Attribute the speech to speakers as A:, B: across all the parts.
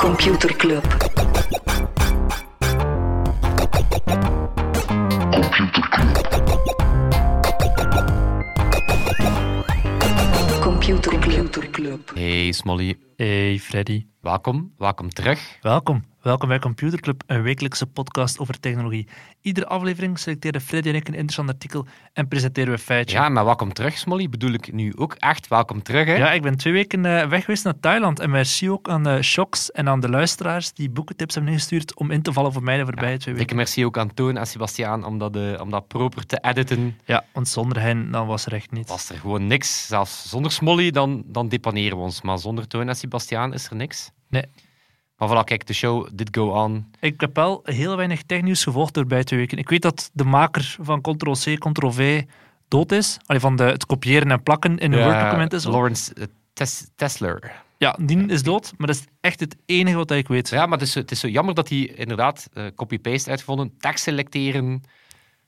A: Computer Club. Computer Club. Computer Club.
B: Hey Smolly,
C: Hey Freddy.
B: welkom, welkom terug.
C: Welkom. Welkom bij Computer Club, een wekelijkse podcast over technologie. Iedere aflevering selecteren Freddy en ik een interessant artikel en presenteren we een feitje.
B: Ja, maar welkom terug Smolly bedoel ik nu ook echt welkom terug hè.
C: Ja, ik ben twee weken eh, weg geweest naar Thailand en merci ook aan de shocks en aan de luisteraars die boekentips hebben ingestuurd om in te vallen voor mij de voorbije twee weken.
B: Dikke merci ook aan Toon en Sebastiaan om dat, eh, om dat proper te editen.
C: Ja, want zonder hen dan was er echt niets.
B: Was er gewoon niks. Zelfs zonder Smolly dan, dan depaneren we ons. Maar zonder Toon en Sebastiaan is er niks.
C: Nee.
B: Maar voilà, kijk, de show did go on.
C: Ik heb wel heel weinig technieuws gevolgd de voorbije twee weken. Ik weet dat de maker van Ctrl-C, Ctrl-V dood is. Allee, van de, het kopiëren en plakken in een
B: Ja,
C: Word-document is.
B: Eh, Lawrence eh, Tes- Tesler.
C: Ja, die is dood, maar dat is echt het enige wat ik weet.
B: Ja, maar het is, zo- het is zo jammer dat hij inderdaad eh, copy-paste uitgevonden. Tekst selecteren,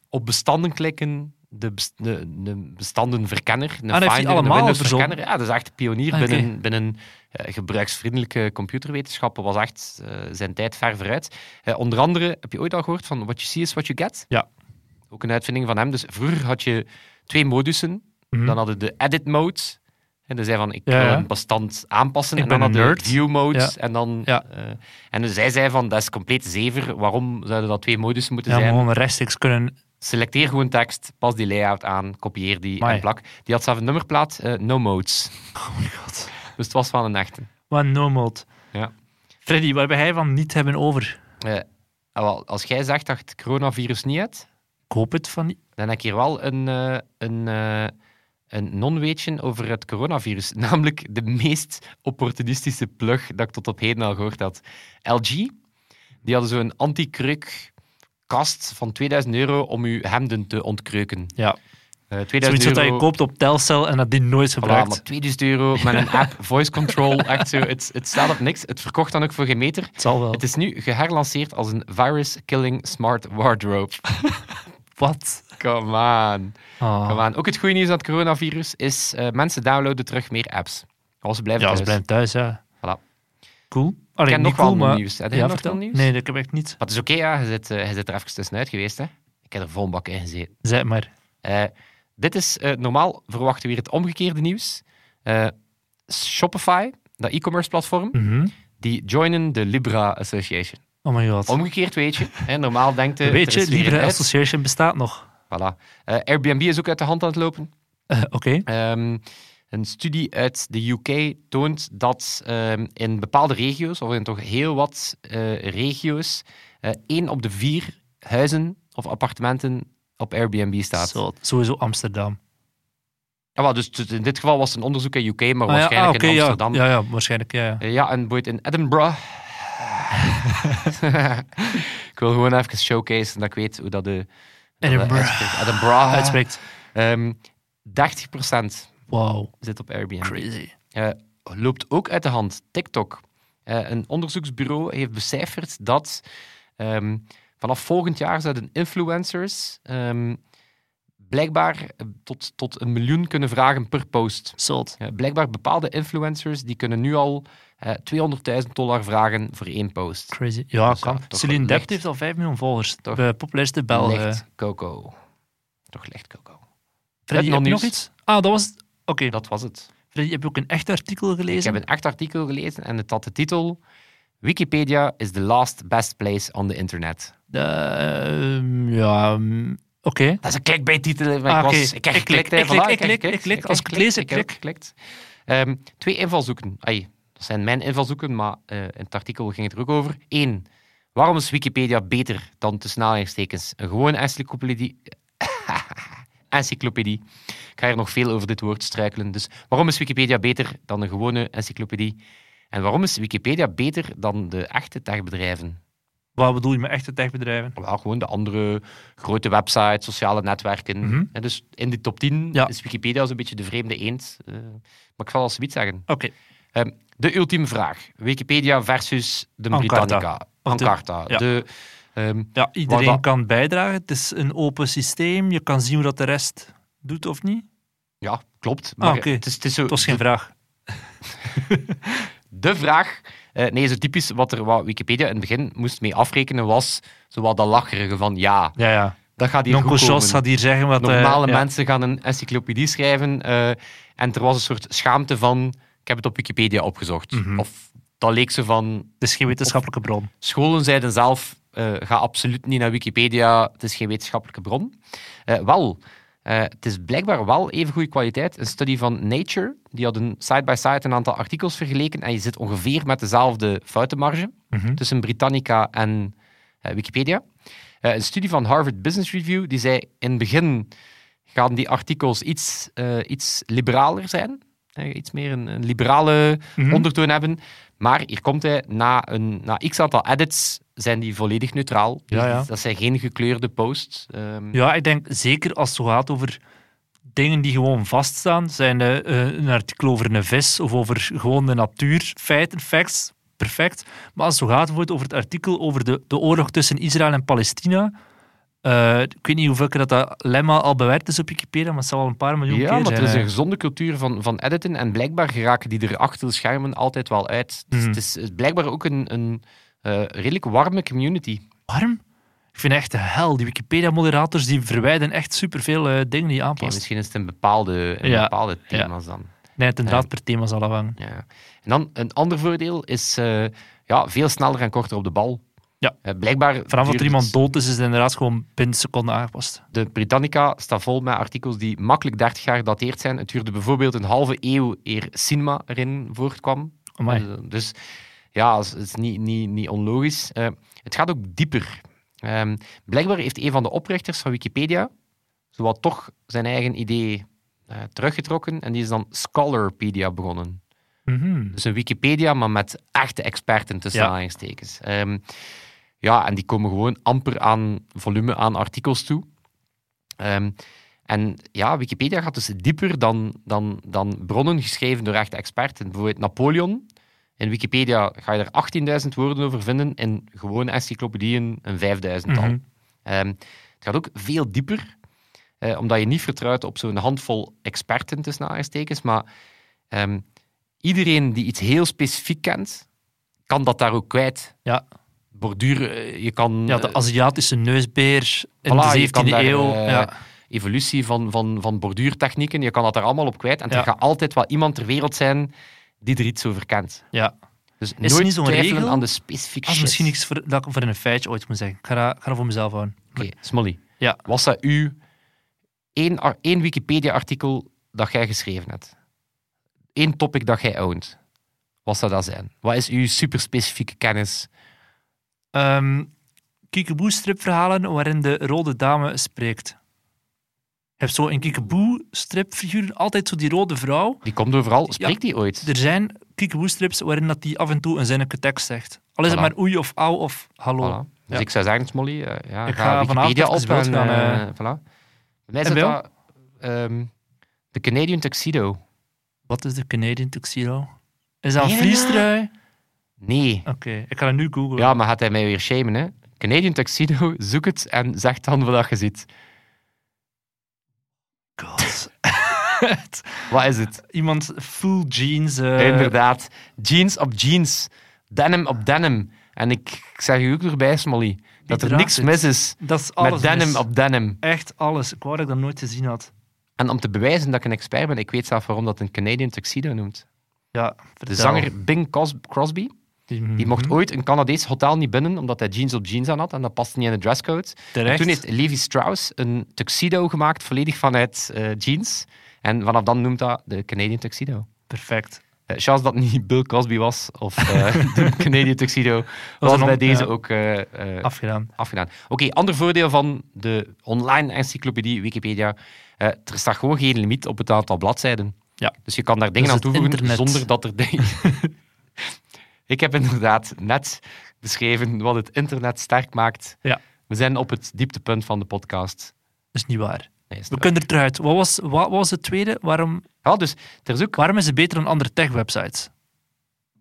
B: op bestanden klikken, de, bes- de, de bestandenverkenner, een
C: Ah, dat heeft hij
B: Finder, een
C: allemaal
B: Windows-verkenner.
C: verzonnen.
B: Ja, dat is echt een pionier
C: Ah, oké.
B: binnen, binnen eh, gebruiksvriendelijke computerwetenschappen. Was echt eh, zijn tijd ver vooruit. Eh, onder andere, heb je ooit al gehoord van What You See Is What You Get?
C: Ja.
B: Ook een uitvinding van hem. Dus vroeger had je twee modussen.
C: Mhm.
B: Dan hadden de edit mode. En dan zei van, ik
C: Ja,
B: wil
C: ja.
B: een bestand aanpassen.
C: Ik
B: en dan
C: ben een
B: hadden
C: nerd.
B: view mode.
C: Ja.
B: En dan...
C: Ja.
B: eh, en dus zij zei van, dat is compleet zever. Waarom zouden dat twee modussen moeten
C: Ja, maar
B: zijn?
C: gewoon rechtstreeks kunnen.
B: Selecteer gewoon tekst, pas die layout aan, kopieer die
C: Amai.
B: en plak. Die had zelf een nummerplaat, eh, no modes. Oh my god. Dus het was van een echte.
C: Wat no mode.
B: Ja.
C: Freddy, waar ben jij van niet hebben over?
B: Eh, ah, wel, als jij zegt dat het coronavirus niet hebt,
C: Ik hoop het van niet.
B: dan heb ik hier wel een, eh, een, eh, een non-weetje over het coronavirus. Namelijk de meest opportunistische plug dat ik tot op heden al gehoord had. LG, die hadden zo'n anti-kruk kast van 2000 euro om uw hemden te ontkreuken.
C: Ja.
B: Eh, 2000
C: Zoiets wat je
B: euro,
C: koopt op Telcel en dat die nooit
B: voilà,
C: gebruikt.
B: maar 2000 euro met een app, voice control, echt zo. Het, het staat op niks. Het verkocht dan ook voor geen meter.
C: Het zal wel.
B: Het is nu geherlanceerd als een virus-killing smart wardrobe.
C: Wat?
B: Come on.
C: Ah.
B: Kom aan. Ook het goede nieuws aan het coronavirus is: eh, mensen downloaden terug meer apps. Als ze blijven
C: Ja, ze
B: thuis.
C: blijven thuis, ja.
B: Voilà.
C: Cool. Allee,
B: ken
C: niet
B: nog wel
C: cool, maar...
B: nieuws. Heb jij nog
C: vertel.
B: veel nieuws?
C: Nee, dat heb ik niet.
B: Maar het is oké, ja. Je zit, eh, je zit er even tussenuit geweest. Hè. Ik heb er vol een bak in gezeten.
C: Zeg maar.
B: Eh, dit is eh, normaal verwachten we weer het omgekeerde nieuws. Eh, Shopify, dat e-commerce platform,
C: Mhm.
B: die joinen de Libra Association.
C: Oh my god.
B: Omgekeerd weet je. Hè, normaal denkt je.
C: Weet je, Libre
B: Association.
C: Association bestaat nog.
B: Voilà. Eh, Airbnb is ook uit de hand aan het lopen.
C: Eh, Oké.
B: Ehm, een studie uit de UK toont dat ehm, in bepaalde regio's, of in toch heel wat eh, regio's, eh één op de vier huizen of appartementen op Airbnb staat.
C: Zo, Sowieso Amsterdam.
B: Ja, wel, dus t- in dit geval was het een onderzoek in UK, maar
C: Ah, ja,
B: waarschijnlijk
C: ah, oké,
B: in
C: ja.
B: Amsterdam.
C: Ja, ja, waarschijnlijk, ja. ja.
B: Eh, ja, en boeit in Edinburgh. ik wil gewoon even showcase dat ik weet hoe dat de... hoe dat de
C: Edinburgh.
B: uitspreekt. Edinburgh.
C: Uitspreekt.
B: Ehm, 30%
C: Wow.
B: zit op Airbnb.
C: Crazy.
B: eh, loopt ook uit de hand. TikTok. Eh, een onderzoeksbureau heeft becijferd dat ehm, vanaf volgend jaar zouden influencers ehm, blijkbaar eh, tot, tot een miljoen kunnen vragen per post.
C: Zot.
B: Eh, blijkbaar bepaalde influencers die kunnen nu al eh 200.000 dollar vragen voor één post.
C: Crazy. Ja,
B: Dus ja,
C: kan.
B: toch
C: Celine
B: licht.
C: Dept heeft al 5 miljoen volgers.
B: Toch
C: De populairste Belgen.
B: Licht Coco. Toch licht Coco.
C: Freddy,
B: Heb nog
C: heb je
B: nieuws?
C: nog iets? Ah, dat was het. Oké.
B: Dat was het.
C: Freddy, heb je ook een echt artikel
B: Ik
C: gelezen?
B: heb een echt artikel gelezen en het had de titel Wikipedia is the last best place on the internet.
C: Eh, ehm, ja, ehm, oké.
B: Dat is een clickbait-titel. maar
C: Ah,
B: ik, was-
C: oké.
B: ik heb
C: Ik klik,
B: geklikt. hè,
C: ik klik,
B: voilà, heb
C: ik klik,
B: geklikt,
C: ik klik.
B: heb
C: Als ik het lees,
B: geklikt,
C: ik
B: heb geklikt. Ehm, twee invalshoeken. Ai, dat zijn mijn invalshoeken, maar eh, in het artikel ging het er ook over. Eén. Waarom is Wikipedia beter dan tussen aanhalingstekens een gewone encyclopedie? encyclopedie. Ik ga hier nog veel over dit woord struikelen. Dus waarom is Wikipedia beter dan een gewone encyclopedie? En waarom is Wikipedia beter dan de echte techbedrijven?
C: Wat bedoel je met echte techbedrijven?
B: Wel, gewoon de andere grote websites, sociale netwerken.
C: Mhm.
B: En dus in die top 10
C: Ja.
B: is Wikipedia zo'n beetje de vreemde eend. Eh, maar ik zal als zoiets zeggen.
C: Oké.
B: Ehm, de ultieme vraag. Wikipedia versus de
C: Encarta.
B: Britannica.
C: Of de-
B: Encarta.
C: ja.
B: De, ehm,
C: Ja, iedereen
B: dat-
C: kan bijdragen. Het is een open systeem. Je kan zien hoe dat de rest doet of niet.
B: ja, klopt. Maar
C: Ah, oké.
B: het, is, het is zo
C: Het was geen vraag.
B: de vraag. eh, Eh, nee, zo typisch wat er wat Wikipedia in het begin moest mee afrekenen was zo wat dat lacherige van ja,
C: Ja, ja.
B: dat gaat hier
C: Nonkel
B: goed komen.
C: Jos gaat hier zeggen wat... eh,
B: Normale
C: ja.
B: mensen gaan een encyclopedie schrijven eh, en er was een soort schaamte van ik heb het op Wikipedia opgezocht.
C: Mhm.
B: Of dat leek zo van
C: Het is geen wetenschappelijke bron.
B: scholen zeiden zelf eh, ga absoluut niet naar Wikipedia, het is geen wetenschappelijke bron. Eh, wel, eh, het is blijkbaar wel even goede kwaliteit. Een studie van Nature, die hadden side-by-side een aantal artikels vergeleken en je zit ongeveer met dezelfde foutenmarge
C: Mhm.
B: tussen Britannica en eh, Wikipedia. Eh, een studie van Harvard Business Review die zei in het begin gaan die artikels iets, eh, iets liberaler zijn. Eh, iets meer een, een liberale
C: Mhm.
B: ondertoon hebben. Maar hier komt hij, na, een, na x aantal edits zijn die volledig neutraal. Dus
C: Ja, ja.
B: Dat zijn geen gekleurde posts. Ehm,
C: Ja, ik denk zeker als het zo gaat over dingen die gewoon vaststaan, zijn eh, eh, een artikel over een vis of over gewoon de natuur, feiten, facts, perfect. Maar als het zo gaat bijvoorbeeld over het artikel over de, de oorlog tussen Israël en Palestina, eh, ik weet niet hoeveel keer dat, dat lemma al bewerkt is op Wikipedia, maar het zal wel een paar miljoen
B: Ja,
C: keer
B: maar er
C: zijn,
B: is
C: eh.
B: een gezonde cultuur van, van editen. En blijkbaar geraken die er achter de schermen altijd wel uit. Dus
C: Mhm.
B: het is, is blijkbaar ook een, een eh, redelijk warme community.
C: Warm? Ik vind echt de hel. Die Wikipedia-moderators die verwijden echt superveel eh, dingen die je
B: Oké,
C: aanpast.
B: misschien is het in bepaalde, in
C: Ja,
B: bepaalde thema's dan.
C: Nee, het inderdaad per thema zal afhangen.
B: Ja. En dan een ander voordeel is eh, ja, veel sneller en korter op de bal.
C: Ja.
B: Eh, blijkbaar
C: Vanaf dat
B: duurt
C: er iemand dood is, is het inderdaad gewoon binnen seconden aangepast.
B: De Britannica staat vol met artikels die makkelijk 30 jaar dateerd zijn. Het duurde bijvoorbeeld een halve eeuw eer cinema erin voortkwam.
C: Amai.
B: Eh, Dus ja, het is- het is niet, niet, niet onlogisch. Eh, het gaat ook dieper. Ehm, blijkbaar heeft een van de oprichters van Wikipedia zowat toch zijn eigen idee eh, teruggetrokken en die is dan Scholarpedia begonnen.
C: Mhm.
B: Dus een Wikipedia, maar met echte experten tussen
C: Ja.
B: aanhalingstekens. Ehm, ja, en die komen gewoon amper aan volume aan artikels toe. Ehm, en ja, Wikipedia gaat dus dieper dan, dan, dan bronnen geschreven door echte experten. Bijvoorbeeld Napoleon. In Wikipedia ga je er 18.000 woorden over vinden, in gewone encyclopedieën een 5.000-tal.
C: Mhm.
B: Ehm, het gaat ook veel dieper, eh, omdat je niet vertrouwt op zo'n handvol experten, tussen aanhalingstekens. Maar ehm, iedereen die iets heel specifiek kent, kan dat daar ook kwijt.
C: Ja.
B: Borduren, eh, je kan
C: Ja, de
B: eh,
C: Aziatische neusbeer in
B: Voilà,
C: de
B: je kan
C: 17e
B: daar,
C: eeuw.
B: eh,
C: ja.
B: evolutie van, van, van borduurtechnieken, je kan dat daar allemaal op kwijt. En
C: Ja.
B: er gaat altijd wel iemand ter wereld zijn die er iets over kent.
C: ja.
B: Dus
C: er
B: nooit
C: niet zo'n
B: twijfelen
C: regel?
B: aan de specifieke
C: Dat is
B: shit.
C: misschien iets voor, dat ik voor een feitje ooit moet zeggen. Ik ga dat, ik ga dat voor mezelf houden.
B: Oké, Smolly.
C: Ja.
B: Was dat u één, ar- één Wikipedia-artikel dat jij geschreven hebt? Eén topic dat jij ownt? Wat zou dat zijn? Wat is uw superspecifieke kennis?
C: Ehm Kiekeboe stripverhalen waarin de rode dame spreekt. Je hebt zo in Kiekeboe stripfiguren altijd zo die rode vrouw.
B: Die komt overal.
C: Ja.
B: Spreekt die ooit?
C: Er zijn Kiekeboe strips waarin dat die af en toe een zinnige tekst zegt. Al is het
B: Voilà.
C: maar oei of au of hallo.
B: Voilà. Dus
C: Ja.
B: ik zou zeggen, Smolly, eh, ja,
C: Ik
B: ga,
C: ga vanavond
B: Wikipedia op
C: even wild
B: en...
C: gaan,
B: eh, voilà. Bij mij
C: En
B: zit
C: Wil?
B: dat... ehm, de Canadian Tuxedo.
C: Wat is de Canadian tuxedo? Is dat een
B: Ja.
C: vliestrui? Oké, Oh,
B: Nee.
C: ik ga dat nu googlen.
B: Ja, maar gaat hij mij weer shamen, hè? Canadian Tuxedo, zoek het en zeg dan wat dat je ziet.
C: God.
B: Wat is het?
C: Iemand full jeans. eh,
B: Inderdaad. Jeans op jeans. Denim op denim. En ik zeg u ook erbij, Smolly, dat er
C: draagt
B: niks
C: het?
B: mis is
C: Dat is alles.
B: met denim
C: mis.
B: op denim.
C: Echt alles. Ik wou dat ik dat nooit gezien had.
B: En om te bewijzen dat ik een expert ben, ik weet zelf waarom dat een Canadian Tuxedo noemt.
C: Ja,
B: De
C: vertel.
B: zanger Bing Cos- Crosby,
C: Die,
B: die mocht
C: Mhm.
B: ooit een Canadees hotel niet binnen, omdat hij jeans op jeans aan had en dat paste niet in de dresscode. En
C: Terecht.
B: toen heeft Levi Strauss een tuxedo gemaakt, volledig vanuit eh, jeans. En vanaf dan noemt dat de Canadian Tuxedo.
C: Perfect.
B: Eh, Chance dat niet Bill Cosby was of eh, de Canadian Tuxedo, was
C: een on-
B: bij deze
C: ja.
B: ook eh, eh,
C: Afgedaan.
B: afgedaan. Oké, ander voordeel van de online encyclopedie Wikipedia. eh, er staat gewoon geen limiet op het aantal bladzijden.
C: Ja.
B: Dus je kan daar dingen
C: Dus
B: aan
C: het
B: toevoegen
C: internet.
B: zonder dat er dingen... Ik heb inderdaad net beschreven wat het internet sterk maakt.
C: Ja.
B: We zijn op het dieptepunt van de podcast.
C: Dat is niet waar.
B: Nee, is het
C: We
B: waar.
C: kunnen er terug uit. Wat was, wat, was het tweede? Waarom,
B: Ja, dus er is ook
C: waarom is het beter dan andere tech-websites?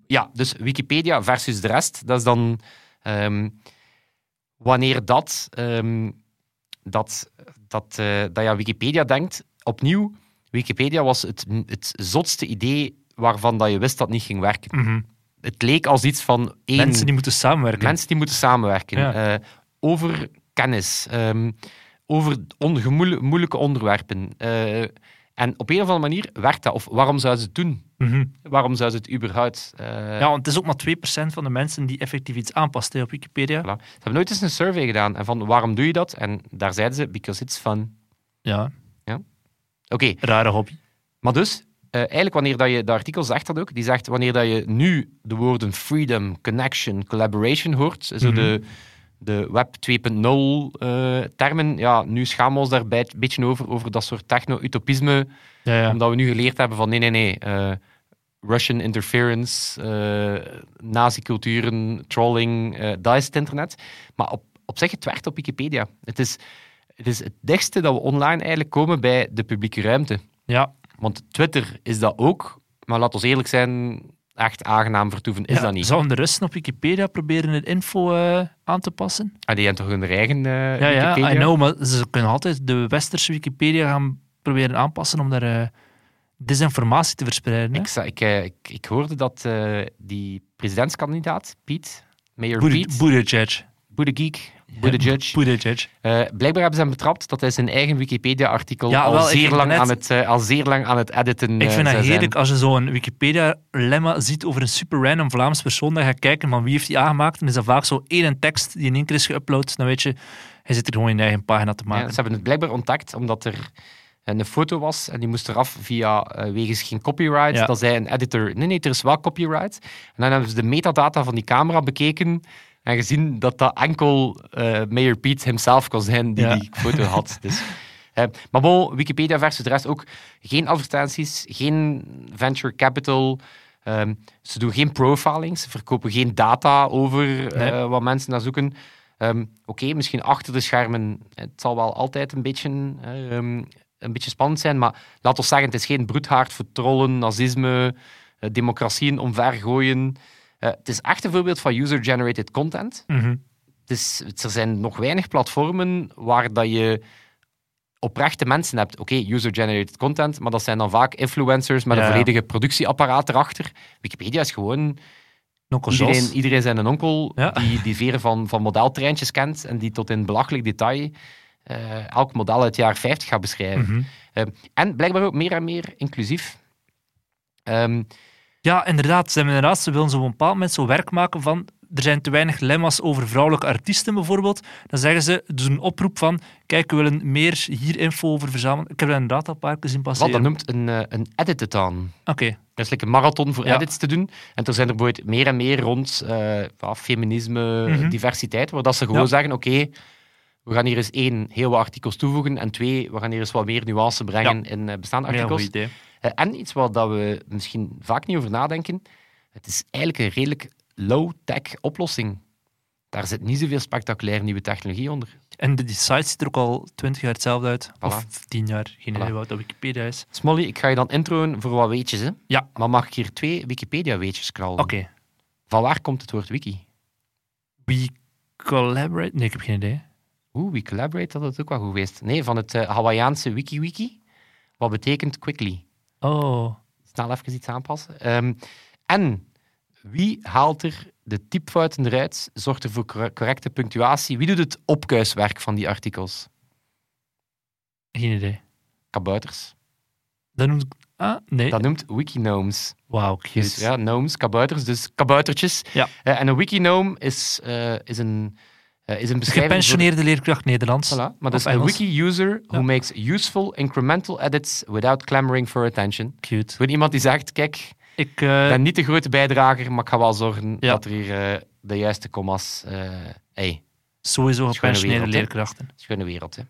B: Ja, dus Wikipedia versus de rest, dat is dan ehm, wanneer dat, ehm, dat, dat, eh, dat ja, Wikipedia denkt, opnieuw, Wikipedia was het, het zotste idee waarvan dat je wist dat het niet ging werken. het leek als iets van één...
C: Mensen die moeten samenwerken.
B: Mensen die moeten samenwerken.
C: Ja.
B: eh, over kennis. ehm, over ongemoel- moeilijke onderwerpen. eh, en op een of andere manier werkt dat. Of waarom zouden ze het doen?
C: Mhm.
B: Waarom zouden ze het überhaupt... eh,
C: Ja, want het is ook maar 2% van de mensen die effectief iets aanpast hè, op Wikipedia.
B: voilà. Ze hebben nooit eens een survey gedaan. En van waarom doe je dat? En daar zeiden ze, because it's fun.
C: Ja,
B: Oké,
C: rare hobby.
B: maar dus... eh, eigenlijk wanneer dat je, dat artikel zegt dat ook, die zegt wanneer dat je nu de woorden freedom, connection, collaboration hoort, zo de, de web 2.0 eh, termen, ja, nu schamen we ons daar bij- een beetje over, over dat soort techno-utopisme
C: Ja, ja.
B: Omdat we nu geleerd hebben van nee, nee, nee. eh, Russian interference, eh, nazi-culturen, trolling, eh, dat is het internet. Maar op, op zich, het werkt op Wikipedia. Het is, het is het dichtste dat we online eigenlijk komen bij de publieke ruimte.
C: ja.
B: Want Twitter is dat ook, maar laat ons eerlijk zijn, echt aangenaam vertoeven is
C: Ja,
B: dat niet.
C: Zouden de Russen op Wikipedia proberen hun info eh, aan te passen?
B: Ah, die hebben toch hun eigen eh,
C: Ja, ja,
B: Wikipedia?
C: I know, maar ze kunnen altijd de westerse Wikipedia gaan proberen aanpassen om daar eh, disinformatie te verspreiden. hè.
B: Ik, za- ik, eh, ik, ik hoorde dat eh, die presidentskandidaat, Piet, Mayor
C: Buttig-
B: Piet,
C: Buttigieg.
B: Boede Geek, Boede Judge,
C: Buttigieg.
B: Eh, blijkbaar hebben ze hem betrapt dat hij zijn eigen Wikipedia-artikel
C: Ja,
B: al,
C: wel, ik
B: zeer
C: ging
B: lang
C: net-
B: aan het, eh, al zeer lang aan het editen
C: Ik
B: eh,
C: vind
B: zou
C: dat
B: zijn.
C: heerlijk als je zo'n Wikipedia-lemma ziet over een super random Vlaams persoon. Dan ga je kijken van wie heeft die aangemaakt. En is dat vaak zo één tekst die in één keer is geüpload. Dan weet je, hij zit er gewoon in eigen pagina te
B: Ja,
C: maken.
B: ze hebben het blijkbaar ontdekt omdat er eh, een foto was en die moest eraf via eh, wegens geen copyright.
C: Ja.
B: Dat zei een editor: nee, nee, er is wel copyright. En dan hebben ze de metadata van die camera bekeken en gezien dat dat enkel eh Mayor Pete hemzelf kon zijn die
C: Ja.
B: die foto had. Dus. eh, maar bon, Wikipedia versus de rest ook geen advertenties, geen venture capital. Ehm, ze doen geen profiling, ze verkopen geen data over
C: Nee.
B: eh, wat mensen naar zoeken. Ehm, Oké, misschien achter de schermen, het zal wel altijd een beetje, eh, ehm, een beetje spannend zijn, maar laat ons zeggen, het is geen broedhaard voor trollen, nazisme, eh, democratieën omvergooien. Eh, het is echt een voorbeeld van user-generated content.
C: Mhm.
B: Het is, het- er zijn nog weinig platformen waar dat je oprechte mensen hebt. Oké, user-generated content, maar dat zijn dan vaak influencers met
C: Ja,
B: een
C: ja.
B: volledige productieapparaat erachter. Wikipedia is gewoon
C: Nokkel Jos.
B: iedereen, iedereen zijn een onkel
C: Ja.
B: die die veren van, van modeltreintjes kent en die tot in belachelijk detail eh, elk model uit het jaar 50 gaat beschrijven.
C: Mhm.
B: Eh, en blijkbaar ook meer en meer inclusief. Ehm,
C: Ja, inderdaad. Ze, hebben inderdaad, ze willen zo op een bepaald moment zo werk maken van... Er zijn te weinig lemma's over vrouwelijke artiesten bijvoorbeeld. Dan zeggen ze, dus een oproep van... Kijk, we willen meer hier info over verzamelen. Ik heb dat inderdaad al een paar keer zien
B: wat
C: passeren.
B: dat noemt een, eh, een editathon.
C: Oké.
B: Dat is like een marathon voor
C: Ja.
B: edits te doen. En er zijn er bijvoorbeeld meer en meer rond eh, ja, feminisme,
C: Mhm.
B: diversiteit, waar dat ze gewoon
C: Ja.
B: zeggen, oké, we gaan hier eens één, heel wat artikels toevoegen, en twee, we gaan hier eens wat meer nuance brengen in eh, bestaande
C: Een heel goed
B: artikels.
C: idee.
B: Eh, En iets waar dat we misschien vaak niet over nadenken, het is eigenlijk een redelijk low-tech oplossing. Daar zit niet zoveel spectaculaire nieuwe technologie onder.
C: En de, die site ziet er ook al twintig jaar hetzelfde uit. Of
B: Voilà.
C: tien jaar. Geen idee
B: Voilà.
C: wat dat Wikipedia is.
B: Smolly, ik ga je dan introen voor wat weetjes. Hè?
C: Ja.
B: Maar mag ik hier twee Wikipedia-weetjes knallen?
C: Oké.
B: Van waar komt het woord wiki?
C: We collaborate... Nee, ik heb geen idee.
B: Oeh, we collaborate, dat is ook wel goed geweest. Nee, van het eh, Hawaïaanse wiki-wiki. Wat betekent quickly?
C: Oh.
B: Snel even iets aanpassen. Ehm, en wie haalt er de typfouten eruit, zorgt er voor cor- correcte punctuatie? Wie doet het opkuiswerk van die artikels?
C: Geen idee.
B: kabouters.
C: Dan noem ik... Ah, nee.
B: Dat noemt wikinomes.
C: Wauw,
B: Dus
C: cute.
B: ja, gnomes, kabouters, dus kaboutertjes.
C: Ja.
B: Eh, en een wikinome is, eh, is, een, eh, is een beschrijving... voor-
C: Dus Gepensioneerde leerkracht Nederlands.
B: Voilà, maar dat is
C: Of
B: een
C: Engels.
B: wiki-user who
C: Ja.
B: makes useful incremental edits without clamoring for attention. Dus
C: Cute.
B: Gewoon iemand die zegt, kijk, ik
C: Ik, eh,
B: ben niet de grote bijdrager, maar ik ga wel zorgen
C: Ja.
B: dat er hier eh, de juiste commas... eh hey,
C: Sowieso gepensioneerde
B: wereld, hè?
C: leerkrachten.
B: schone wereld, hè.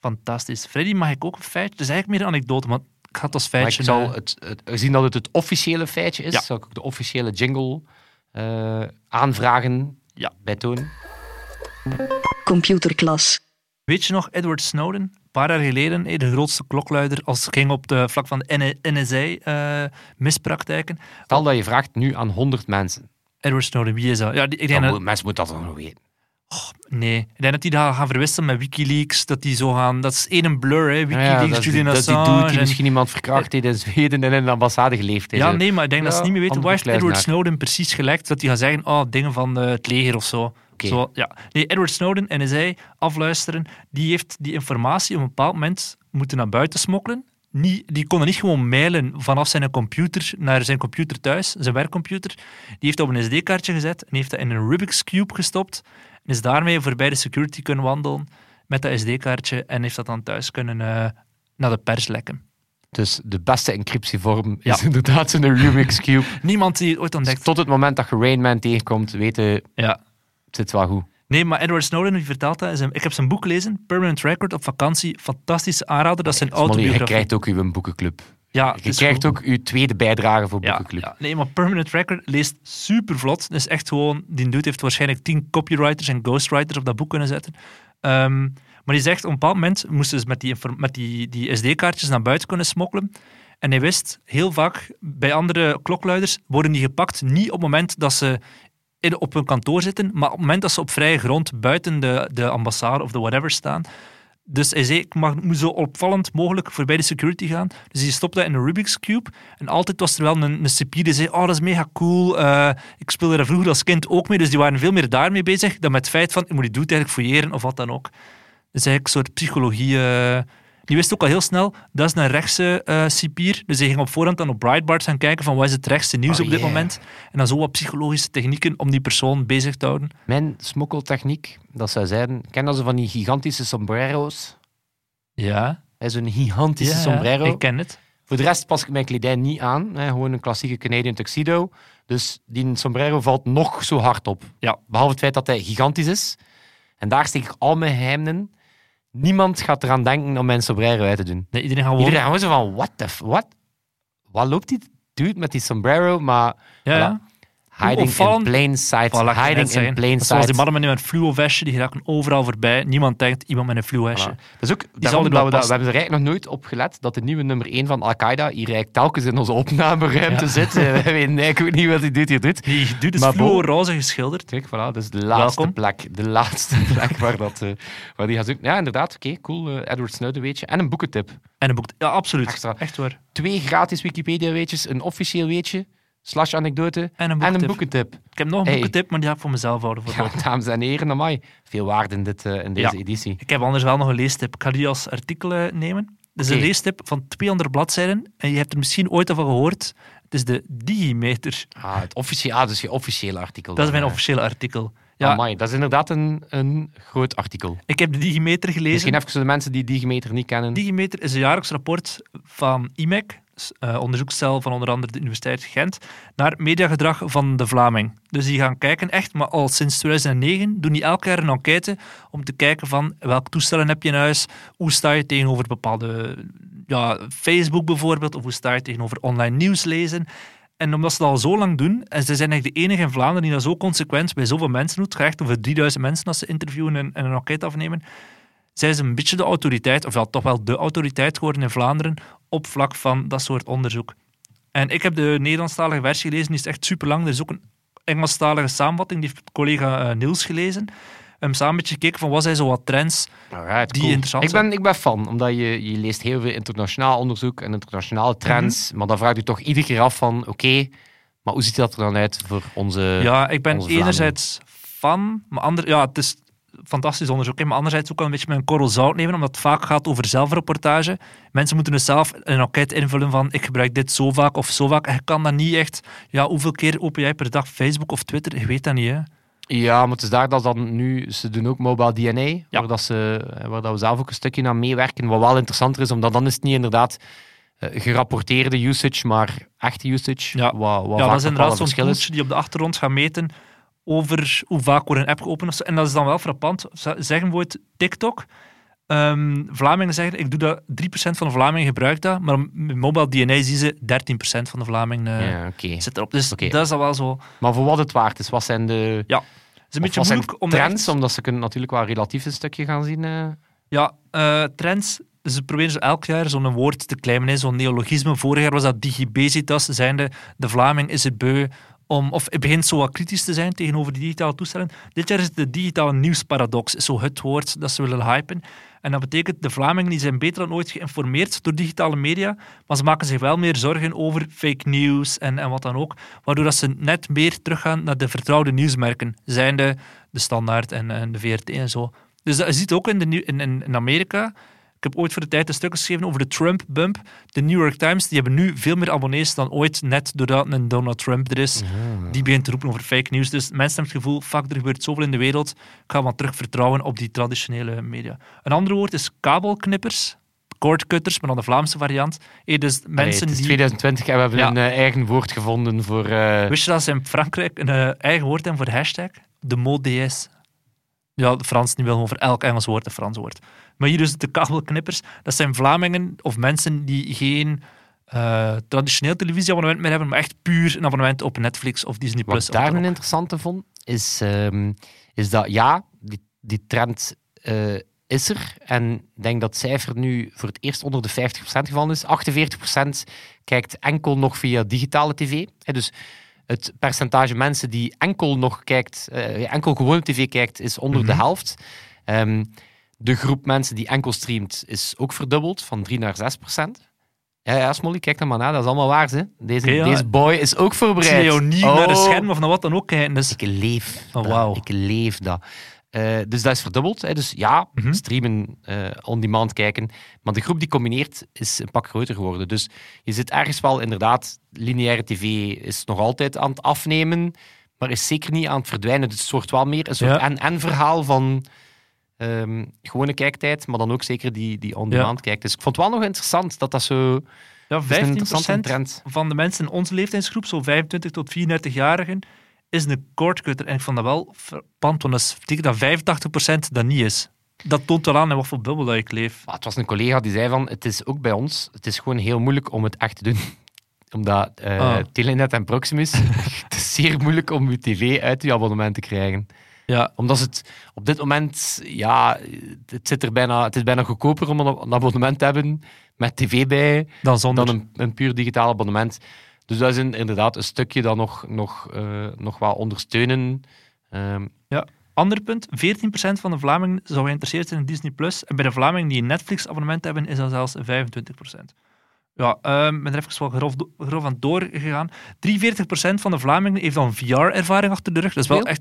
C: Fantastisch. Freddy, mag ik ook een feitje? Het is eigenlijk meer een anekdote, maar ik ga het als
B: Maar ik
C: feitje...
B: zal
C: eh,
B: het, het, gezien dat het het officiële feitje is,
C: Ja.
B: zal ik ook de officiële jingle eh, aanvragen
C: Ja.
B: bij Toon.
A: computerklas,
C: Weet je nog, Edward Snowden? Een paar jaar geleden, eh, de grootste klokluider als het ging op de vlak van de E- eh, NSA-mispraktijken.
B: Stel dat je vraagt nu aan 100 mensen.
C: Edward Snowden, wie is dat? Ja, die- ik denk
B: Dan
C: dat-
B: moet- mensen moeten dat dan nog weten.
C: Oh, nee. Ik denk dat die dat gaan verwisselen met Wikileaks. Dat die zo gaan... Dat is één blur, hè.
B: Ja, ja, dat
C: Wikileaks,
B: is die-
C: Julian
B: dat is die
C: Assange...
B: dude die
C: en- Eh.
B: misschien iemand verkracht heeft in Zweden en in de ambassade geleefd heeft.
C: Ja, nee, maar ik denk dat ze
B: Ja,
C: niet meer weten.
B: andere
C: Waar heeft Edward
B: kluizenaar.
C: Snowden precies gelekt? Dat die gaan zeggen, oh, dingen van eh, het leger of zo. zo ja. Nee, Edward Snowden, en NSA, afluisteren, die heeft die informatie op een bepaald moment moeten naar buiten smokkelen. Niet, die kon dat niet gewoon mailen vanaf zijn computer naar zijn computer thuis, zijn werkcomputer. Die heeft dat op een SD-kaartje gezet en heeft dat in een Rubik's Cube gestopt. En is daarmee voorbij de security kunnen wandelen met dat SD-kaartje en heeft dat dan thuis kunnen eh, naar de pers lekken.
B: Dus de beste encryptievorm is
C: Ja.
B: inderdaad zo'n Rubik's Cube.
C: Niemand die het ooit
B: Dus
C: ontdekt.
B: tot het moment dat je Rain Man tegenkomt, weten het
C: Ja,
B: zit wel goed.
C: Nee, maar Edward Snowden, die vertelt dat. in zijn- Ik heb zijn boek gelezen, Permanent Record, op vakantie. Fantastische aanrader, dat is zijn
B: Smolly, je
C: autobiografie.
B: krijgt ook uw boekenclub.
C: ja, het
B: Je
C: is
B: krijgt
C: goed.
B: ook uw tweede bijdrage voor
C: Ja,
B: boekenclub.
C: ja. nee, maar Permanent Record leest super vlot. Dus echt gewoon, die dude heeft waarschijnlijk tien copywriters en ghostwriters op dat boek kunnen zetten. Ehm, maar die zegt, op een bepaald moment moesten ze met die, inform- met die, die SD-kaartjes naar buiten kunnen smokkelen. En hij wist, heel vaak, bij andere klokluiders worden die gepakt niet op het moment dat ze in, op hun kantoor zitten, maar op het moment dat ze op vrije grond buiten de, de ambassade of de whatever staan. Dus hij zei, ik mag, moet zo opvallend mogelijk voorbij de security gaan. Dus hij stopte dat in een Rubik's Cube. En altijd was er wel een, een cipier die zei, oh, dat is mega cool. eh, ik speelde daar vroeger als kind ook mee. Dus die waren veel meer daarmee bezig dan met het feit van, ik moet die doet eigenlijk fouilleren of wat dan ook. Dus eigenlijk een soort psychologie... eh, die wist ook al heel snel, dat is een rechtse eh cipier. Dus hij ging op voorhand dan op Breitbart gaan kijken van, wat is het rechtse nieuws
B: Oh,
C: op dit
B: yeah.
C: moment? En dan zo wat psychologische technieken om die persoon bezig te houden.
B: Mijn smokkeltechniek, dat zou zijn... Ken dat ze van die gigantische sombrero's?
C: Ja.
B: Hè, Zo'n gigantische sombrero.
C: Ik ken het.
B: Voor de rest pas ik mijn kledij niet aan. Hè. Gewoon een klassieke Canadian tuxedo. Dus die sombrero valt nog zo hard op.
C: Ja.
B: Behalve het feit dat hij gigantisch is. En daar steek ik al mijn geheimen in. Niemand gaat eraan denken om mijn sombrero uit te doen.
C: Nee, iedereen gaat gewoon...
B: Iedereen gewoon zo van, what the... f- What? Wat loopt die dude met die sombrero? Maar
C: Ja, ja.
B: Voilà. hiding in
C: opvallend.
B: plain sight.
C: Voilà, ik kan net
B: hiding in
C: zeggen.
B: plain
C: Dat is Zoals
B: sight.
C: die mannen met een fluo-vestje, die raken overal voorbij. Niemand denkt, iemand met een fluo-vestje.
B: Voilà. Dat is ook
C: zal
B: daarom
C: er
B: dat
C: wel
B: we, dat, we
C: passen.
B: hebben er eigenlijk nog nooit op gelet dat de nieuwe nummer 1 van Al-Qaeda hier eigenlijk telkens in onze opnameruimte zit. Eh, We weten eigenlijk ook niet wat hij doet hier doet.
C: Die dude is
B: Maar bon.
C: fluo-roze geschilderd.
B: Kijk, voilà, dat is de laatste
C: Welkom.
B: plek. De laatste plek waar, dat, eh, waar die gaat zoeken. Ja, inderdaad. Oké, cool. eh, Edward Snowden weet je. En een boekentip.
C: En een boek... Ja, absoluut.
B: Extra.
C: Echt waar.
B: Twee gratis Wikipedia-weetjes, een officieel weetje, slash anekdote
C: En een
B: en een
C: boekentip.
B: boekentip.
C: Ik heb nog een
B: Hey.
C: boekentip, maar die ga ik voor mezelf houden. Voor
B: Ja,
C: later.
B: dames en heren, amai. Veel waarde in, dit, eh, in deze
C: Ja.
B: editie.
C: Ik heb anders wel nog een leestip. Ik ga die als artikel eh, nemen. Dit is
B: Oké.
C: een leestip van 200 bladzijden. En je hebt er misschien ooit al van gehoord. Het is de Digimeter.
B: Ah, het officiële, ah, dus je officiële artikel.
C: Dat is
B: dan,
C: mijn
B: eh.
C: officiële artikel.
B: Ja.
C: Ja,
B: Amai, dat is inderdaad een, een groot artikel.
C: ik heb de Digimeter gelezen.
B: Misschien even voor de mensen die Digimeter niet kennen.
C: Digimeter is een jaarlijks rapport van IMEC, s- eh, onderzoekscel van onder andere de Universiteit Gent, naar mediagedrag van de Vlaming. Dus die gaan kijken, echt, maar al sinds 2009 doen die elk jaar een enquête om te kijken van welke toestellen heb je in huis, hoe sta je tegenover bepaalde, ja, Facebook bijvoorbeeld, of hoe sta je tegenover online nieuws lezen. En omdat ze dat al zo lang doen, en ze zijn eigenlijk de enige in Vlaanderen die dat zo consequent bij zoveel mensen doet, het gaat echt over 3000 mensen als ze interviewen en, en een enquête afnemen, zij ze een beetje de autoriteit, of wel toch wel de autoriteit geworden in Vlaanderen op vlak van dat soort onderzoek. En ik heb de Nederlandstalige versie gelezen, die is echt super lang. Er is ook een Engelstalige samenvatting, die heeft collega eh, Niels gelezen. Hem samen een beetje gekeken van wat zijn zo wat trends.
B: Alright,
C: die
B: cool.
C: interessant
B: ik, ben, ik ben fan, omdat je, je leest heel veel internationaal onderzoek en internationale trends.
C: Mhm.
B: Maar dan vraag je toch iedere keer af van, oké, maar hoe ziet dat er dan uit voor onze...
C: ja, ik ben
B: eh, onze Vlaming.
C: enerzijds fan, maar ander, ja, het is fantastisch onderzoek, hè, maar anderzijds ook wel een beetje met een korrel zout nemen, omdat het vaak gaat over zelfreportage. Mensen moeten dus zelf een enquête invullen van ik gebruik dit zo vaak of zo vaak. En je kan dat niet echt, ja, hoeveel keer open jij per dag Facebook of Twitter? Je weet dat niet, hè.
B: Ja, maar het is daar dat ze dan nu... Ze doen ook mobile DNA, waar, dat ze, waar dat we zelf ook een stukje aan meewerken. Wat wel interessanter is, omdat dan is het niet inderdaad eh, gerapporteerde usage, maar echte usage.
C: Ja.
B: wat, wat
C: ja,
B: vaak
C: dat
B: nog
C: is inderdaad
B: wel een
C: zo'n
B: verschil is.
C: toeltje die op de achtergrond gaat meten over hoe vaak wordt een app geopend. of zo. En dat is dan wel frappant. Z- Zeggen we het TikTok. Ehm, Vlamingen zeggen, ik doe dat, 3% van de Vlamingen gebruikt dat, maar met mobile DNA zien ze 13% van de Vlamingen eh,
B: Ja, oké.
C: zit erop. Dus
B: Oké.
C: dat is dan wel zo. Het
B: Maar voor wat het waard is, wat zijn de
C: is een
B: of
C: beetje
B: wat zijn
C: moeilijk om daar
B: trends?
C: echt-
B: Omdat ze kunnen natuurlijk wel relatief een stukje gaan zien. eh.
C: Ja, eh, trends. Ze proberen zo elk jaar zo'n woord te claimen, hè, zo'n neologisme. Vorig jaar was dat digibesitas, zijnde de Vlaming is het beu om, of het begint zo wat kritisch te zijn tegenover die digitale toestellen. Dit jaar is het de digitale nieuwsparadox, is zo het woord dat ze willen hypen. En dat betekent, de Vlamingen die zijn beter dan ooit geïnformeerd door digitale media, maar ze maken zich wel meer zorgen over fake news en, en wat dan ook, waardoor dat ze net meer teruggaan naar de vertrouwde nieuwsmerken, zijnde de Standaard en, en de VRT en zo. Dus dat je ziet ook in, de, nieuw- in, in, in Amerika, ik heb ooit voor de tijd een stuk geschreven over de Trump-bump. De New York Times die hebben nu veel meer abonnees dan ooit, net doordat een Donald Trump er
B: Ah.
C: is. Die begint te roepen over fake news. Dus mensen hebben het gevoel, fuck, er gebeurt zoveel in de wereld. Ik ga maar terug vertrouwen op die traditionele media. Een ander woord is kabelknippers. Cordcutters, maar dan de Vlaamse variant. Eh, dus
B: Allee,
C: mensen
B: het is
C: die...
B: 2020 en we hebben
C: Ja.
B: een eh, eigen woord gevonden voor... eh,
C: Wist je dat ze in Frankrijk een eh, eigen woord hebben voor hashtag? De mot DS. Ja, de Frans niet wel maar voor elk Engels woord een Frans woord. Maar hier dus de kabelknippers. Dat zijn Vlamingen of mensen die geen eh, traditioneel televisieabonnement meer hebben, maar echt puur een abonnement op Netflix of Disney+.
B: Wat
C: Plus.
B: ik daar een interessante vond, is, ehm, is dat ja, die, die trend eh, is er. En ik denk dat het cijfer nu voor het eerst onder de 50% gevallen is. 48% kijkt enkel nog via digitale tv. Hè, dus het percentage mensen die enkel nog kijkt, eh, enkel gewoon op tv kijkt, is onder
C: Mhm.
B: de helft. Ehm, de groep mensen die enkel streamt is ook verdubbeld, van 3 naar 6 Ja, ja, Smolly, kijk dan maar na, dat is allemaal waar. Hè. Deze,
C: Oké, ja.
B: deze boy is ook
C: Ik
B: voorbereid.
C: zie jou niet naar een
B: Oh.
C: scherm of naar wat dan ook kijken. Dus
B: Ik leef.
C: Oh,
B: dat.
C: wauw.
B: Ik leef dat. Eh, dus dat is verdubbeld. Hè. Dus ja,
C: Mhm.
B: streamen, eh, on-demand kijken. Maar de groep die combineert is een pak groter geworden. Dus je zit ergens wel inderdaad. Lineaire tv is nog altijd aan het afnemen, maar is zeker niet aan het verdwijnen. Dus het wordt wel meer een soort
C: Ja.
B: en-en-verhaal van ehm, gewone kijktijd, maar dan ook zeker die, die on-demand kijkt. Dus ik vond het wel nog interessant dat dat zo. het
C: ja,
B: is een
C: 15
B: interessante trend.
C: van de mensen in onze leeftijdsgroep, zo'n 25 tot 34-jarigen, is een cordcutter. En ik vond dat wel verpand, want dat betekent dat 85% dat niet is. Dat toont wel aan in wat voor bubbel dat ik leef.
B: Maar het was een collega die zei van, het is ook bij ons, het is gewoon heel moeilijk om het echt te doen. Omdat eh,
C: Ah.
B: Telenet en Proximus, het is zeer moeilijk om je tv uit je abonnement te krijgen.
C: Ja,
B: Omdat het op dit moment, ja, het, zit er bijna, het is bijna goedkoper om een, een abonnement te hebben met tv bij,
C: dan zonder.
B: dan een, een puur digitaal abonnement. Dus dat is een- inderdaad een stukje dat nog, nog, eh, nog wel ondersteunen. Ehm,
C: Ander punt, 14% van de Vlamingen zou geïnteresseerd zijn in Disney+. Plus. En bij de Vlamingen die een Netflix-abonnement hebben, is dat zelfs 25%. Ja, ehm, ik ben er even wel grof, do- grof aan doorgegaan. 43% van de Vlamingen heeft al een VR-ervaring achter de rug. Dat is wel
B: Hoeveel?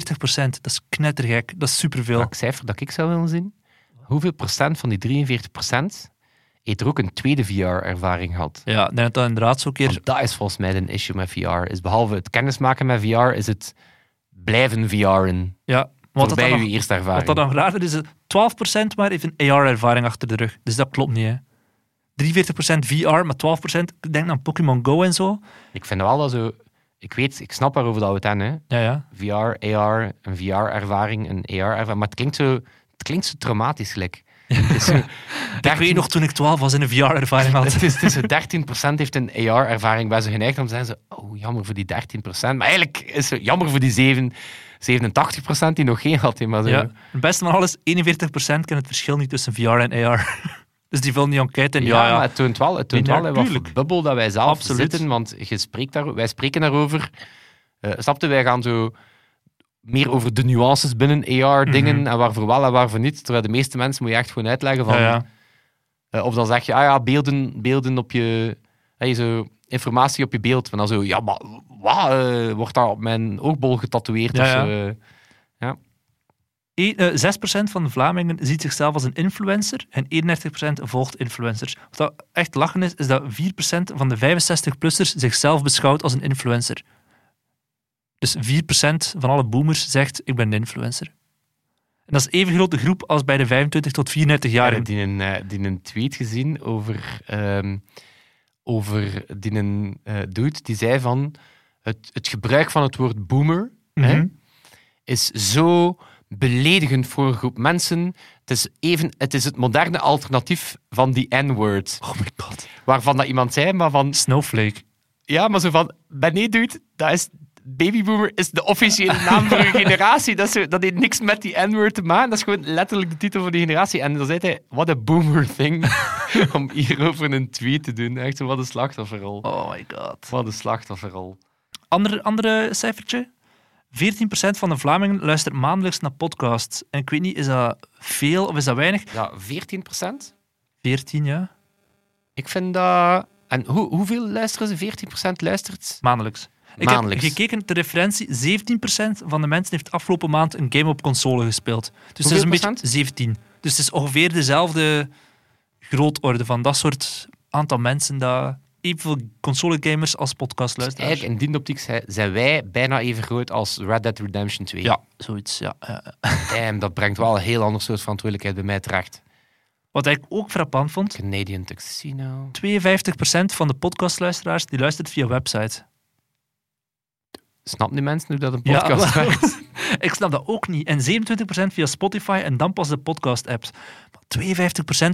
C: echt 43%. Dat is knettergek. Dat is superveel.
B: welk cijfer dat ik zou willen zien. Hoeveel procent van die 43 procent heeft er ook een tweede VR-ervaring gehad?
C: Ja, ik denk dat dat inderdaad zo'n keer
B: Want dat is volgens mij een issue met VR. Is behalve het kennismaken met VR, is het blijven VR'en
C: Ja, wat dat,
B: voorbij
C: dan
B: je
C: nog,
B: eerste ervaring.
C: wat dat dan raarder is, is 12% maar heeft een AR-ervaring achter de rug. Dus dat klopt niet, hè. 43% VR, maar 12%, ik denk aan Pokémon Go en zo.
B: Ik vind wel dat zo... Ik weet, ik snap waarover dat we het hebben. hè.
C: Ja, ja.
B: VR, AR, een VR-ervaring, een AR-ervaring. Maar het klinkt zo, het klinkt zo traumatisch, gelijk. Het is zo
C: Ik weet
B: 13
C: nog toen ik 12 was en een VR-ervaring had.
B: Het is, het is zo 13% heeft een AR-ervaring waar ze geneigd om te zijn. Ze, oh, jammer voor die 13%. Maar eigenlijk is het jammer voor die 7, 87% die nog geen had. hè, Maar zo.
C: Ja. Het beste van alles, 41% kent het verschil niet tussen VR en AR. dus die vullen die enquête in. Ja, ja.
B: maar het toont wel, het toont
C: Ja,
B: wel hè, wat voor
C: tuurlijk.
B: bubbel dat wij zelf
C: Absoluut.
B: zitten. Want je spreekt daar, wij spreken daarover. Eh snapte, wij gaan zo meer over de nuances binnen
C: Mhm.
B: AR-dingen en waarvoor wel en waarvoor niet. Terwijl de meeste mensen moet je echt gewoon uitleggen van...
C: ja, ja.
B: Eh, of dan zeg je, ah ja, beelden, beelden op je... Hey, zo, informatie op je beeld. En dan zo, ja, maar wat? eh, wordt daar op mijn oogbol getatoeëerd?
C: Ja,
B: of zo, eh?
C: E- eh, 6% van de Vlamingen ziet zichzelf als een influencer en 31% volgt influencers. Wat dat echt lachen is, is dat 4% van de 65-plussers zichzelf beschouwt als een influencer. Dus 4% van alle boomers zegt, ik ben een influencer. En dat is even grote groep als bij de 25 tot 34-jarigen.
B: Ik heb die een, eh, die een tweet gezien over, ehm, over die een eh, dude die zei van het, het gebruik van het woord boomer
C: Mhm.
B: hè, is zo beledigend voor een groep mensen. Het is, even, het is het moderne alternatief van die N-word.
C: Oh my god.
B: Waarvan dat iemand zei, maar van
C: Snowflake.
B: Ja, maar zo van, ben nee, dude, dat is... Babyboomer is de officiële naam voor een generatie. Dat, is, zo- dat heeft niks met die N-word te maken. Dat is gewoon letterlijk de titel van die generatie. En dan zei hij, what a boomer thing. om hierover een tweet te doen. Echt, zo, wat een slachtofferrol.
C: Oh my god.
B: Wat een slachtofferrol.
C: Ander, andere cijfertje. 14% van de Vlamingen luistert maandelijks naar podcasts. En ik weet niet, is dat veel of is dat weinig?
B: Ja, 14 procent.
C: 14, ja.
B: Ik vind dat... En hoe, hoeveel luisteren ze? 14 luistert?
C: Maandelijks. Ik
B: Maandelijks.
C: heb gekeken ter referentie. 17% van de mensen heeft afgelopen maand een game op console gespeeld. Dus het is een
B: Hoeveel
C: beetje
B: procent?
C: 17. Dus het is ongeveer dezelfde grootorde van dat soort aantal mensen dat evenveel console-gamers als podcastluisteraars.
B: Eigenlijk, in die optiek zijn- zijn wij bijna even groot als Red Dead Redemption 2.
C: Ja, zoiets. Ja, ja.
B: Damn, dat brengt wel een heel ander soort verantwoordelijkheid bij mij terecht.
C: Wat ik ook frappant vond,
B: Canadian Tuxino.
C: 52% van de podcastluisteraars die luistert via website.
B: Snap die mensen hoe dat een
C: Ja,
B: podcast
C: wel.
B: werkt?
C: Ik snap dat ook niet. En 27% via Spotify en dan pas de podcast-apps. Maar 52%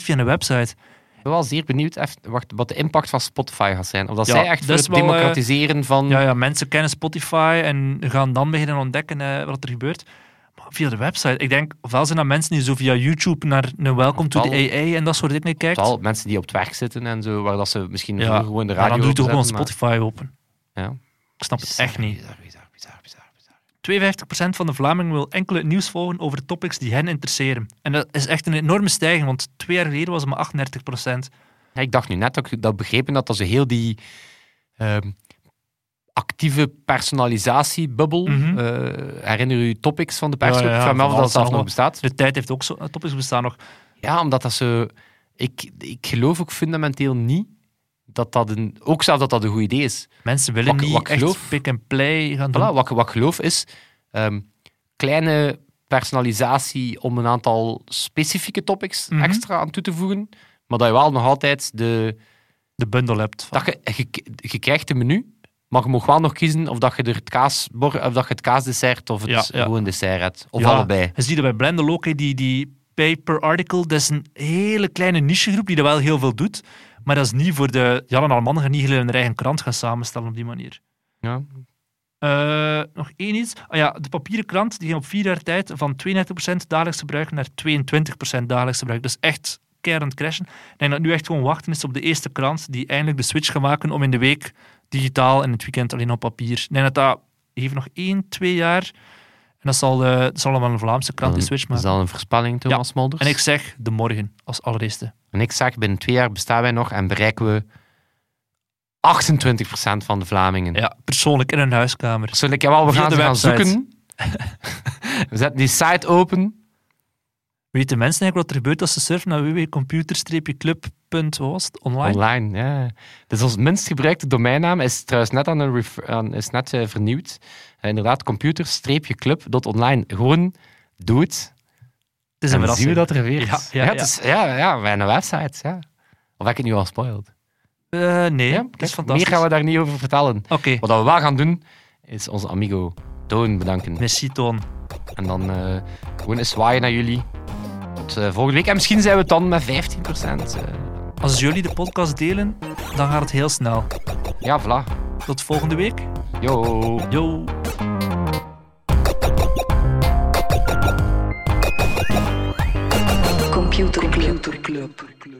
C: via een website.
B: Ik ben wel zeer benieuwd eff- wacht, wat de impact van Spotify gaat zijn. Of dat
C: Ja,
B: zij echt voor
C: dat
B: het
C: is wel, eh,
B: democratiseren van...
C: Ja, ja, mensen kennen Spotify en gaan dan beginnen ontdekken eh, wat er gebeurt. Maar via de website. Ik denk, ofwel zijn dat mensen die zo via YouTube naar een Welcome to the
B: Ofwel-
C: AA en dat soort dingen kijkt.
B: Vooral mensen die op het werk zitten en zo, waar dat ze misschien
C: Ja,
B: vroeger gewoon de
C: Maar
B: radio
C: dan doe je toch gewoon
B: opzetten, maar-
C: Spotify open.
B: Ja.
C: Ik snap het echt niet.
B: Bizar, bizar, bizar, bizar, bizar.
C: 52% van de Vlamingen wil enkel het nieuws volgen over topics die hen interesseren. En dat is echt een enorme stijging, want twee jaar geleden was het maar 38%.
B: Ja, ik dacht nu net dat ik dat begrepen had, dat ze heel die ehm, actieve personalisatiebubbel,
C: Mhm.
B: eh, herinner u topics van de pers,
C: Ja, ja,
B: ik vraag me af
C: van
B: of dat
C: alles
B: zelf nog
C: allemaal.
B: bestaat.
C: De tijd heeft ook zo, eh, topics bestaan nog.
B: Ja, omdat dat zo... Ik, ik geloof ook fundamenteel niet dat dat een... Ook zelf dat dat een goed idee is.
C: Mensen willen
B: Wat-
C: niet
B: wat ik
C: echt
B: geloof-
C: pick and play gaan doen.
B: Voilà, wat, ik- wat ik geloof is ehm, kleine personalisatie om een aantal specifieke topics
C: Mhm.
B: extra aan toe te voegen, maar dat je wel nog altijd de...
C: De bundel hebt. Van.
B: Dat je, je, je krijgt een menu, maar je mag wel nog kiezen of dat je er het, kaasbor, of dat je het kaasdessert of het
C: Ja, ja.
B: gewoon dessert hebt. Of
C: Ja,
B: allebei.
C: Je ziet dat bij Blender ook, hè, die, die pay per article, dat is een hele kleine nichegroep die dat wel heel veel doet. Maar dat is niet voor de... Jan en Arman gaan niet hun eigen krant gaan samenstellen op die manier.
B: Ja.
C: Eh, nog één iets. Ah ja, de papieren krant die ging op vier jaar tijd van 32% dagelijks gebruik naar 22% dagelijks gebruik. Dus echt keihard aan het crashen. Ik denk dat nu echt gewoon wachten is op de eerste krant die eindelijk de switch gaat maken om in de week digitaal en het weekend alleen op papier. Ik denk dat dat heeft nog één, twee jaar. En dat zal, eh, dat zal wel een Vlaamse krant die switch
B: is
C: maken.
B: dat een voorspelling, Thomas Molders?
C: En ik zeg de morgen als allereerste.
B: En ik zeg, binnen twee jaar bestaan wij nog en bereiken we 28% van de Vlamingen.
C: Ja, persoonlijk in een huiskamer.
B: Persoonlijk, jawel, we
C: Via
B: gaan
C: de
B: ze gaan
C: website.
B: zoeken. we zetten die site open.
C: Weten mensen eigenlijk wat er gebeurt als ze surfen naar www.computer-club.online?
B: Online, ja. Dus ons minst gebruikte domeinnaam is trouwens net, aan een ref- aan, is net eh, vernieuwd. Eh, inderdaad, computer-club.online. Gewoon doe het.
C: Het is een
B: En dan zien
C: verrassing.
B: we dat er weer is.
C: Ja, ja,
B: het
C: ja.
B: is- ja, ja, wij een website. Ja. Of heb ik het nu al spoiled?
C: Eh, nee,
B: Ja,
C: dat
B: kijk,
C: is fantastisch.
B: Meer gaan we daar niet over vertellen.
C: Oké,
B: Wat we wel gaan doen, is onze amigo Toon bedanken.
C: merci Toon.
B: En dan eh, gewoon eens zwaaien naar jullie. Tot eh, volgende week. En misschien zijn we het dan met 15%. eh.
C: Als jullie de podcast delen, dan gaat het heel snel.
B: ja, voilà.
C: Tot volgende week.
B: Yo.
C: Yo.
A: Computer Club.